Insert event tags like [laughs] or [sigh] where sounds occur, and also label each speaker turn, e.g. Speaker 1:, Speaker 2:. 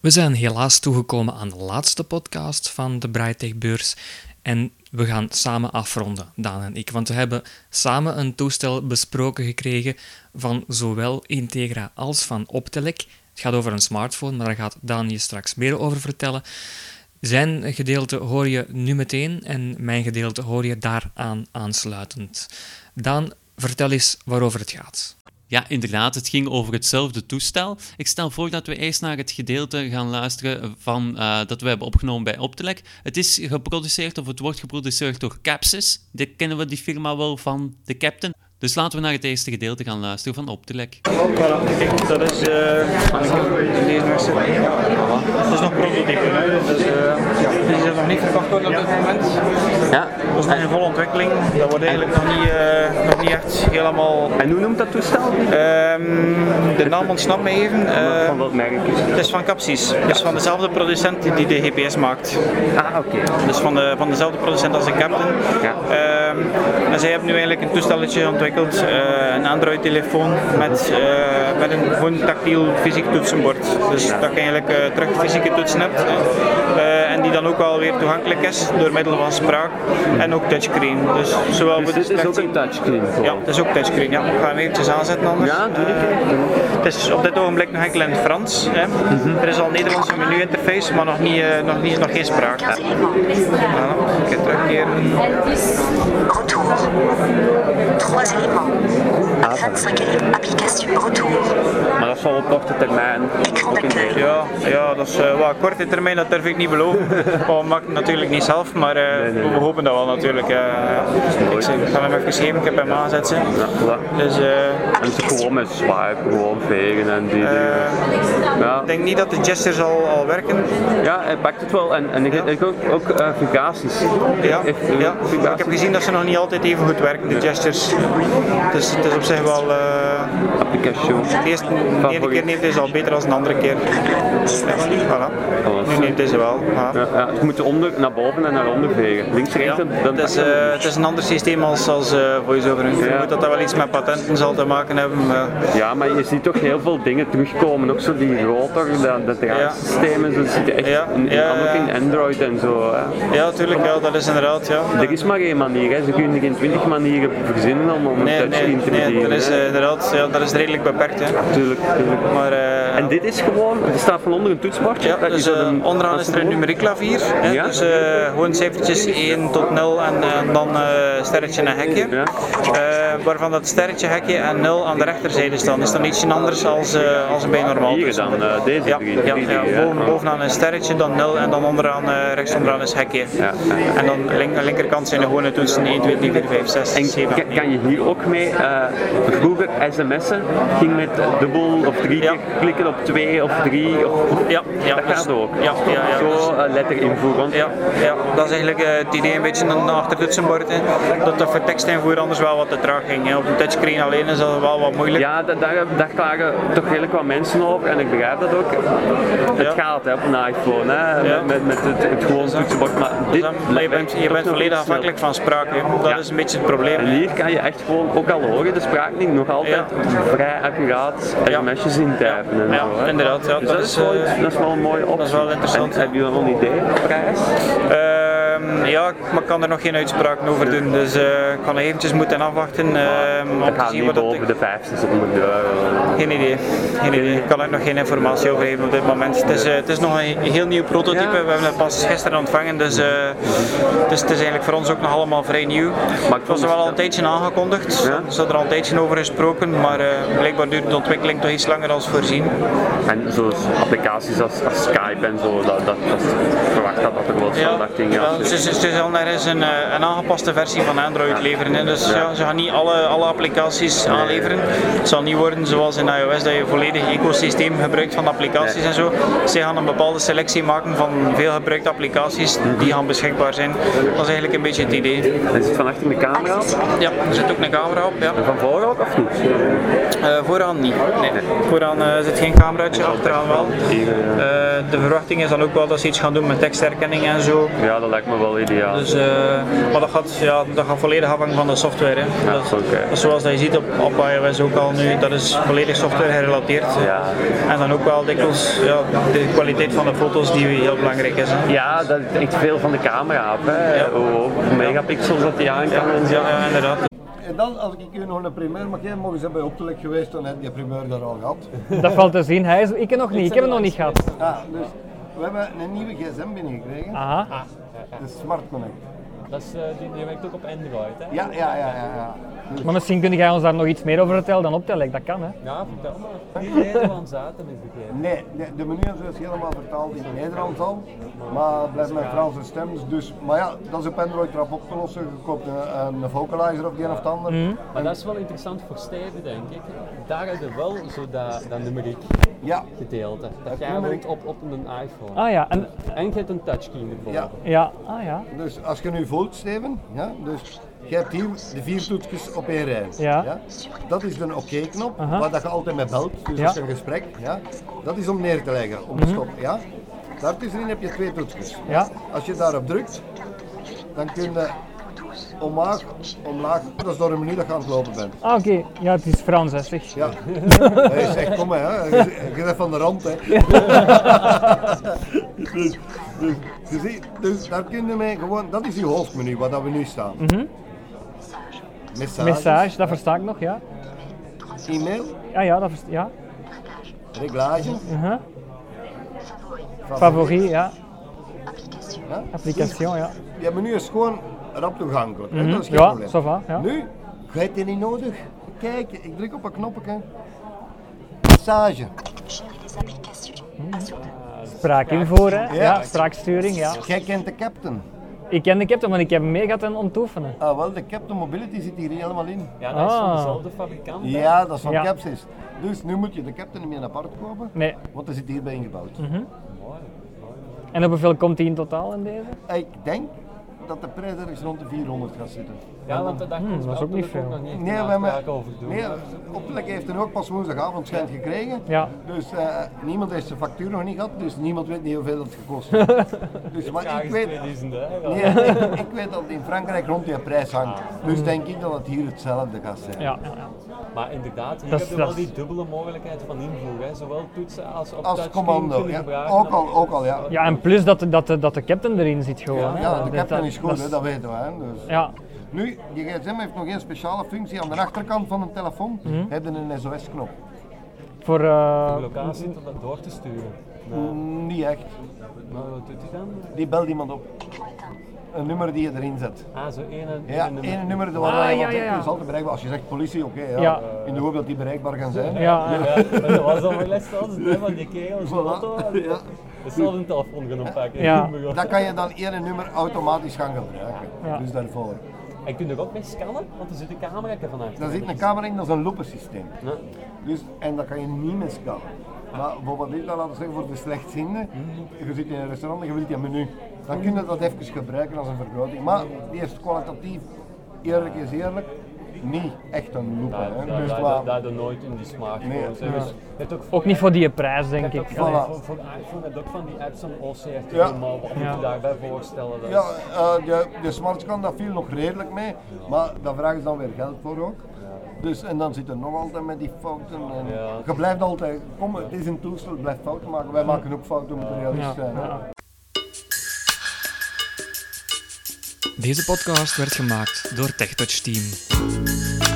Speaker 1: We zijn helaas toegekomen aan de laatste podcast van de Brightech Beurs. En we gaan samen afronden, Daan en ik. Want we hebben samen een toestel besproken gekregen van zowel Integra als van Optelec. Het gaat over een smartphone, maar daar gaat Daan je straks meer over vertellen. Zijn gedeelte hoor je nu meteen en mijn gedeelte hoor je daaraan aansluitend. Daan, vertel eens waarover het gaat.
Speaker 2: Ja, inderdaad, het ging over hetzelfde toestel. Ik stel voor dat we eerst naar het gedeelte gaan luisteren van, uh, dat we hebben opgenomen bij Optelec. Het is geproduceerd of het wordt geproduceerd door Capsys. Dit kennen we die firma wel van de Captain. Dus laten we naar het eerste gedeelte gaan luisteren van Optelec.
Speaker 3: Voilà, dat is eh, van de Het is nog prototype, hè? dus uh, die is nog niet verkocht worden op dit moment.
Speaker 4: Ja.
Speaker 3: Dat is nog in volle ontwikkeling. Dat wordt eigenlijk nog niet, eh, nog niet echt helemaal.
Speaker 4: En hoe noemt dat toestel?
Speaker 3: Ehm, de naam ontsnapt me even. eh,
Speaker 4: Van welk merk is het?
Speaker 3: het is van Capsys. Het is van dezelfde producent die de GPS maakt.
Speaker 4: Ah, oké.
Speaker 3: Dus van, de, van dezelfde producent als de Captain.
Speaker 4: Ja.
Speaker 3: Ehm, en zij hebben nu eigenlijk een toestelletje ontwikkeld, eh, een Android-telefoon met, eh, met een gewoon tactiel fysiek toetsenbord. Dus dat je eigenlijk eh, terug fysieke toetsen hebt. eh, en die dan ook alweer toegankelijk is door middel van spraak en ook touchscreen. Dus zowel voor de
Speaker 4: Dus dit is ook
Speaker 3: slechtzienden-
Speaker 4: een touchscreen
Speaker 3: ja,
Speaker 4: gewoon?
Speaker 3: het is ook touchscreen. Ja. Ik ga hem eventjes aanzetten anders.
Speaker 4: Ja, doe ik. Mhm.
Speaker 3: Eh, het is op dit ogenblik nog enkel in het Frans. Hè. Er is al Nederlandse menu-interface, maar nog, niet, eh, nog, niet, nog geen spraak. Ja. Voilà, ik ga terugkeren.
Speaker 5: Retour. Trois éléments. 25 éléments. Application. Retour.
Speaker 4: Maar dat zal op korte termijn
Speaker 5: Écran
Speaker 4: ook in
Speaker 5: d'accueil.
Speaker 4: de-
Speaker 3: Ja, ja, dat is eh, wel korte termijn, dat durf ik niet beloven. [laughs] Maar we maken het natuurlijk niet zelf, maar eh,
Speaker 4: nee, nee.
Speaker 3: we hopen dat wel natuurlijk. eh. ik, zeg, ik ga hem even geven, ik heb hem aangezet. zeg.
Speaker 4: Ja, voilà.
Speaker 3: Dus eh,
Speaker 4: En ze gewoon met swipe, gewoon vegen en die dingen. Ja.
Speaker 3: ik denk niet dat de gestures al, al werken.
Speaker 4: ja, hij pakt het wel. En, en ik heb ook, ook eh, vibraties.
Speaker 3: Ja,
Speaker 4: Echt, eh,
Speaker 3: ja.
Speaker 4: vibraties.
Speaker 3: Ik heb gezien dat ze nog niet altijd even goed werken, de gestures. Dus het is op zich wel. eh,
Speaker 4: Application.
Speaker 3: de eerste de ene keer neemt deze al beter dan de andere keer. Voilà. Nu neemt deze wel. voilà.
Speaker 4: Ja, ja, het moet onder, naar boven en naar onder vegen. Links, rechts,
Speaker 3: Ja,
Speaker 4: dan, dan
Speaker 3: het, is, eh, het is een ander systeem als, als eh, voice-over. Ik vermoed dat dat wel iets met patenten zal te maken hebben. maar-
Speaker 4: Ja, maar je ziet toch heel veel dingen terugkomen. Ook zo die rotor, dat, dat draaisysteem en zo. Dat zit echt
Speaker 3: Ja,
Speaker 4: in, in-
Speaker 3: ja,
Speaker 4: allemaal
Speaker 3: ja.
Speaker 4: in Android en zo. Hè.
Speaker 3: ja, tuurlijk, ja, dat is inderdaad. Ja.
Speaker 4: Er is maar één manier. Hè. Ze kunnen geen twintig manieren verzinnen om, om een
Speaker 3: Nee, nee,
Speaker 4: touchscreen te
Speaker 3: nee, dat
Speaker 4: bedienen.
Speaker 3: is
Speaker 4: hè.
Speaker 3: eh, inderdaad ja, dat is redelijk beperkt. Hè.
Speaker 4: Tuurlijk, tuurlijk.
Speaker 3: Maar, eh,
Speaker 4: En dit is gewoon, er staat van onder een toetsbordje.
Speaker 3: ja,
Speaker 4: Dat
Speaker 3: dus,
Speaker 4: is dat
Speaker 3: eh,
Speaker 4: een-
Speaker 3: onderaan
Speaker 4: dat
Speaker 3: is er een numeriek klavier. Hè,
Speaker 4: Ja.
Speaker 3: Dus eh, gewoon cijfertjes 1 tot 0 en eh, dan eh, sterretje en hekje.
Speaker 4: Ja.
Speaker 3: Eh, waarvan dat sterretje, hekje en 0 aan de rechterzijde staan. is dan ietsje anders als, eh, als een bij normaal
Speaker 4: Hier
Speaker 3: toetsen.
Speaker 4: dan, eh, deze
Speaker 3: Ja,
Speaker 4: drie.
Speaker 3: ja,
Speaker 4: drie
Speaker 3: ja,
Speaker 4: dingen, hè.
Speaker 3: boven, bovenaan een sterretje, dan 0 en dan onderaan, eh rechts onderaan is hekje.
Speaker 4: Ja, ja.
Speaker 3: En dan link, aan de linkerkant zijn de gewone toetsen 1, 2, 3, 4, 5, 6,
Speaker 4: En
Speaker 3: 7,
Speaker 4: ka- kan je hier ook mee, eh, vroeger sms'en ging met dubbel of drie
Speaker 3: Ja.
Speaker 4: keer klikken op twee of drie of
Speaker 3: Ja, ja,
Speaker 4: dat
Speaker 3: dus-
Speaker 4: gaat ook.
Speaker 3: Ja, ja, ja, dus-
Speaker 4: Zo eh, letterinvoer, want
Speaker 3: ja, ja, dat is eigenlijk eh, het idee een beetje dan achter toetsenbord. Hè. Dat dat voor tekstinvoer anders wel wat te traag ging. Hè. Op een touchscreen alleen is dat wel wat moeilijk.
Speaker 4: Ja, da- daar, daar klagen toch redelijk wat mensen over en ik begrijp dat ook. Het
Speaker 3: Ja.
Speaker 4: gaat hè, op een iPhone, hè,
Speaker 3: Ja.
Speaker 4: met, met het, het gewoon toetsenbord, maar dit
Speaker 3: Dus dan- maar je bent, je
Speaker 4: werkt
Speaker 3: bent
Speaker 4: toch
Speaker 3: volledig
Speaker 4: nog snel.
Speaker 3: afhankelijk van spraak. Hè. Dat
Speaker 4: Ja.
Speaker 3: is een beetje het probleem.
Speaker 4: En hier kan je echt gewoon, ook al horen de spraak niet, nog altijd vrij accuraat
Speaker 3: Ja.
Speaker 4: sms'jes intypen en
Speaker 3: Ja,
Speaker 4: zo. hè.
Speaker 3: inderdaad, ja,
Speaker 4: dus dat,
Speaker 3: dat is,
Speaker 4: is wel,
Speaker 3: eh,
Speaker 4: iets- dat is wel een mooie optie.
Speaker 3: wel interessant,
Speaker 4: En,
Speaker 3: ja.
Speaker 4: heb je wel een idee, prijs?
Speaker 3: Ehm, ja, ik- maar ik kan er nog geen uitspraak over doen. Dus eh, ik ga nog eventjes moeten afwachten. ehm, om
Speaker 4: Dat
Speaker 3: te
Speaker 4: gaat
Speaker 3: zien
Speaker 4: niet
Speaker 3: wat dat
Speaker 4: boven de 75 euro.
Speaker 3: Geen idee. Geen idee. Ik kan er nog geen informatie over geven op dit moment. Het is, eh, het is nog een heel nieuw prototype.
Speaker 4: Ja.
Speaker 3: We hebben het pas gisteren ontvangen, dus, eh, dus het is eigenlijk voor ons ook nog allemaal vrij nieuw. Maar het was er wel al een tijdje aangekondigd.
Speaker 4: Ja.
Speaker 3: Er is er al een tijdje over gesproken, maar eh, blijkbaar duurt de ontwikkeling toch iets langer dan voorzien.
Speaker 4: En zo'n applicaties als, als Skype en zo, dat, dat, dat verwacht dat dat er wel standaard dingen
Speaker 3: ja,
Speaker 4: als-
Speaker 3: ze, ze, ze zullen daar eens een, eh, een aangepaste versie van Android leveren. hè. Dus
Speaker 4: Ja.
Speaker 3: ja, ze gaan niet alle, alle applicaties aanleveren. Het zal niet worden zoals in iOS dat je volledig ecosysteem gebruikt van applicaties
Speaker 4: Nee.
Speaker 3: en zo. Ze gaan een bepaalde selectie maken van veel gebruikte applicaties
Speaker 4: Mhm.
Speaker 3: die gaan beschikbaar zijn. Dat is eigenlijk een beetje het idee.
Speaker 4: Hij zit van achter de camera.
Speaker 3: Ja, er zit ook een camera op. Ja.
Speaker 4: Van voren ook of niet?
Speaker 3: Eh, vooraan niet. Nee. Vooraan eh, zit geen cameraatje, achteraan wel.
Speaker 4: Hier, eh,
Speaker 3: Eh, de verwachting is dan ook wel dat ze iets gaan doen met tekstherkenning en zo.
Speaker 4: Ja, dat lijkt me wel ideaal.
Speaker 3: Dus, eh, maar dat gaat, ja, dat gaat volledig afhangen van de software. Hè.
Speaker 4: Ja,
Speaker 3: dat,
Speaker 4: oké.
Speaker 3: dat is zoals dat je ziet op, op iOS ook al nu, dat is volledig software gerelateerd.
Speaker 4: Ja.
Speaker 3: En dan ook wel dikwijls ja, de kwaliteit van de foto's die heel belangrijk is. Hè.
Speaker 4: Ja, dat is echt veel van de camera af. Hè. Hoe- Hoeveel megapixels dat die aan kan en zo.
Speaker 3: Ja, inderdaad.
Speaker 6: En dan, als ik u nog een primeur mag geven, mogen ze bij Optelec geweest, dan heb je die primeur daar al gehad.
Speaker 7: Dat valt te zien. Hij is, ik heb nog niet. Ik heb hem nog niet gehad.
Speaker 6: Ja, dus we hebben een nieuwe gsm binnengekregen,
Speaker 7: Aha.
Speaker 6: de Smart Connect.
Speaker 8: Dat is, eh, die, die werkt ook op Android, hè?
Speaker 6: Ja, ja, ja, ja. ja. Dus
Speaker 7: Maar misschien kun jij ons daar nog iets meer over vertellen dan optellen. Dat kan, hè?
Speaker 8: Ja, vertel maar. Niet Nederlands uit, heb ik begrepen.
Speaker 6: nee, nee, de menu hebben ze dus helemaal vertaald in het Nederlands al, maar het blijft met Franse stems. Dus, maar ja, dat is op Android rap op te lossen. Je koopt een, een vocalizer of die een of het ander.
Speaker 8: Maar dat is wel interessant voor Steven, denk ik. Daar heb je wel zo dat, dat nummeriek
Speaker 6: Ja,
Speaker 8: gedeelte. Dat jij
Speaker 6: numeriek.
Speaker 8: woont op, op een iPhone.
Speaker 7: Ah ja. En,
Speaker 8: En je hebt een touchscreen erboven.
Speaker 6: ja.
Speaker 7: ja. Ah ja.
Speaker 6: Dus als je nu voelt, Steven, ja, dus je hebt hier de vier toetjes op één rij.
Speaker 7: Ja.
Speaker 6: Dat is de oké-knop,
Speaker 7: Aha.
Speaker 6: waar dat je altijd mee belt, dus
Speaker 7: Ja. Mhm.
Speaker 6: dat is een gesprek. Ja. Dat is om neer te leggen, om te stoppen. Ja. Daartussenin heb je twee toetjes.
Speaker 7: Ja.
Speaker 6: Als je daarop drukt, dan kun je omlaag, omlaag, dat is door een menu dat je aan het lopen bent.
Speaker 7: Ah, oké. Ja, het is Frans, hè, zeg. [laughs]
Speaker 6: Ja. Hij zegt, kom maar, hè. je je bent van de rand. Hè. [laughs] dus, dus, je ziet, dus daar kunnen we gewoon, dat is die hoofdmenu waar dat we nu staan.
Speaker 7: Mhm.
Speaker 6: Messages,
Speaker 7: Message, dat versta ik nog, ja.
Speaker 6: e-mail,
Speaker 7: Ja, ja, dat versta ja.
Speaker 6: reglage,
Speaker 7: Uh-huh.
Speaker 6: favoriet.
Speaker 7: Favori, ja.
Speaker 6: Ja.
Speaker 7: Application, ja.
Speaker 6: Je menu is gewoon rap toegankelijk, hè. dat is geen
Speaker 7: Mhm. Ja,
Speaker 6: probleem.
Speaker 7: ça va, ja.
Speaker 6: Nu, je hebt die niet nodig. Kijk, ik druk op een knopje. Massage.
Speaker 5: Gérer les applications.
Speaker 7: Spraakinvoer, hè.
Speaker 6: Ja.
Speaker 7: Ja, spraaksturing, ja.
Speaker 6: Jij kent de captain.
Speaker 7: Ik ken de captain, want ik heb hem mee gehad en om te oefenen.
Speaker 6: Ah wel, de captain mobility zit hier helemaal in.
Speaker 8: Ja, dat is van
Speaker 7: Ah.
Speaker 8: dezelfde fabrikant. hè?
Speaker 6: Ja, dat is van
Speaker 7: Ja.
Speaker 6: Capsis. Dus nu moet je de captain niet meer apart kopen,
Speaker 7: Nee.
Speaker 6: want er zit hierbij ingebouwd.
Speaker 7: Mhm. En op hoeveel komt die in totaal in deze?
Speaker 6: Ik denk dat de prijs ergens rond de 400 gaat zitten.
Speaker 8: Ja, want dat
Speaker 7: Hmm,
Speaker 8: hmm,
Speaker 7: dat is ook niet veel.
Speaker 8: nog niet
Speaker 6: Nee, we
Speaker 8: hebben...
Speaker 6: hebben,
Speaker 8: over doen.
Speaker 6: nee, Optelec heeft er ook pas woensdagavond schijnt gekregen.
Speaker 7: Ja.
Speaker 6: Dus eh, niemand heeft zijn factuur nog niet gehad, dus niemand weet niet hoeveel het gekost
Speaker 7: [laughs]
Speaker 6: heeft. dus, maar ik weet, nee, ik, ik weet dat het in Frankrijk rond die prijs hangt.
Speaker 8: Ah.
Speaker 6: Dus denk ik dat het hier hetzelfde gaat zijn.
Speaker 7: Ja, ja, ja.
Speaker 8: Maar inderdaad, hier
Speaker 7: Dat
Speaker 8: heb je
Speaker 7: is-
Speaker 8: wel
Speaker 7: dat is-
Speaker 8: die dubbele mogelijkheid van invoer. Hè. Zowel toetsen als op
Speaker 6: Als
Speaker 8: touchscreen
Speaker 6: commando,
Speaker 8: kunnen
Speaker 6: ja.
Speaker 8: gebruiken.
Speaker 6: ook al, ook al ja.
Speaker 7: ja en plus dat, de- dat, de- dat de captain erin zit gewoon. hè.
Speaker 6: Ja, de
Speaker 7: Dat-
Speaker 6: captain is goed,
Speaker 7: dat-
Speaker 6: hè, dat weten we. Hè, dus.
Speaker 7: Ja,
Speaker 6: Nu, die gsm heeft nog een speciale functie aan de achterkant van een telefoon.
Speaker 7: Mhm.
Speaker 6: Heb je een SOS-knop?
Speaker 7: voor...
Speaker 8: De
Speaker 7: eh,
Speaker 8: locatie om dat door te sturen.
Speaker 6: Mm, Niet echt.
Speaker 8: Maar wat doet hij dan?
Speaker 6: Die belt iemand op. Een nummer die je erin zet.
Speaker 8: Ah, zo één en
Speaker 6: Ja,
Speaker 8: één nummer.
Speaker 6: één nummer dat
Speaker 7: Ah,
Speaker 6: waar je
Speaker 7: ja,
Speaker 6: wat
Speaker 7: ja, ja.
Speaker 6: is altijd bereikbaar. Als je zegt politie, oké, ja.
Speaker 7: Ja.
Speaker 6: in de hoop dat die bereikbaar gaan zijn.
Speaker 7: ja, ja.
Speaker 8: Ja, maar dat was al mijn les als hè, van die kerel, zo'n auto.
Speaker 6: Voilà. [laughs] Ja.
Speaker 8: Dat zal een telefoon gaan oppakken.
Speaker 7: Ja.
Speaker 6: Dan kan je dan één nummer automatisch gaan gebruiken.
Speaker 7: Ja.
Speaker 6: Dus daarvoor.
Speaker 8: En kun je er ook mee scannen, want er zit een camera van achter.
Speaker 6: Daar zit een camera in, dat is een loepensysteem. Dus, en dat kan je niet meer scannen. Maar bijvoorbeeld dit, dan laten we zeggen voor de slechtzienden. Je zit in een restaurant en je wilt je menu. Dan kun je dat even gebruiken als een vergroting. Maar die is kwalitatief, eerlijk is eerlijk, niet echt een loep.
Speaker 8: Ja,
Speaker 6: hè.
Speaker 8: dat-
Speaker 6: dus
Speaker 8: dat-
Speaker 6: waar-
Speaker 8: Dat dat nooit in die smartphone.
Speaker 6: Nee.
Speaker 8: hè. Dus je hebt ook voor
Speaker 7: Ook niet voor die prijs,
Speaker 8: je
Speaker 7: denk
Speaker 8: hebt ook
Speaker 7: ik.
Speaker 8: voor,
Speaker 6: Voilà.
Speaker 8: voor, voor iPhone heb je ook van die apps van OCR,
Speaker 6: Ja.
Speaker 8: maar wat moet
Speaker 7: Ja.
Speaker 8: je daarbij voorstellen? Dat
Speaker 6: Ja,
Speaker 8: is-
Speaker 6: eh, de, de smartscan dat viel nog redelijk mee, maar daar vragen ze dan weer geld voor ook. Dus, en dan zit er nog altijd met die fouten. En
Speaker 8: Ja.
Speaker 6: Je blijft altijd, kom, het is een toestel, blijf fouten maken. Wij maken ook fouten, we moeten realistisch zijn. hè.
Speaker 1: Deze podcast werd gemaakt door TechTouch Team.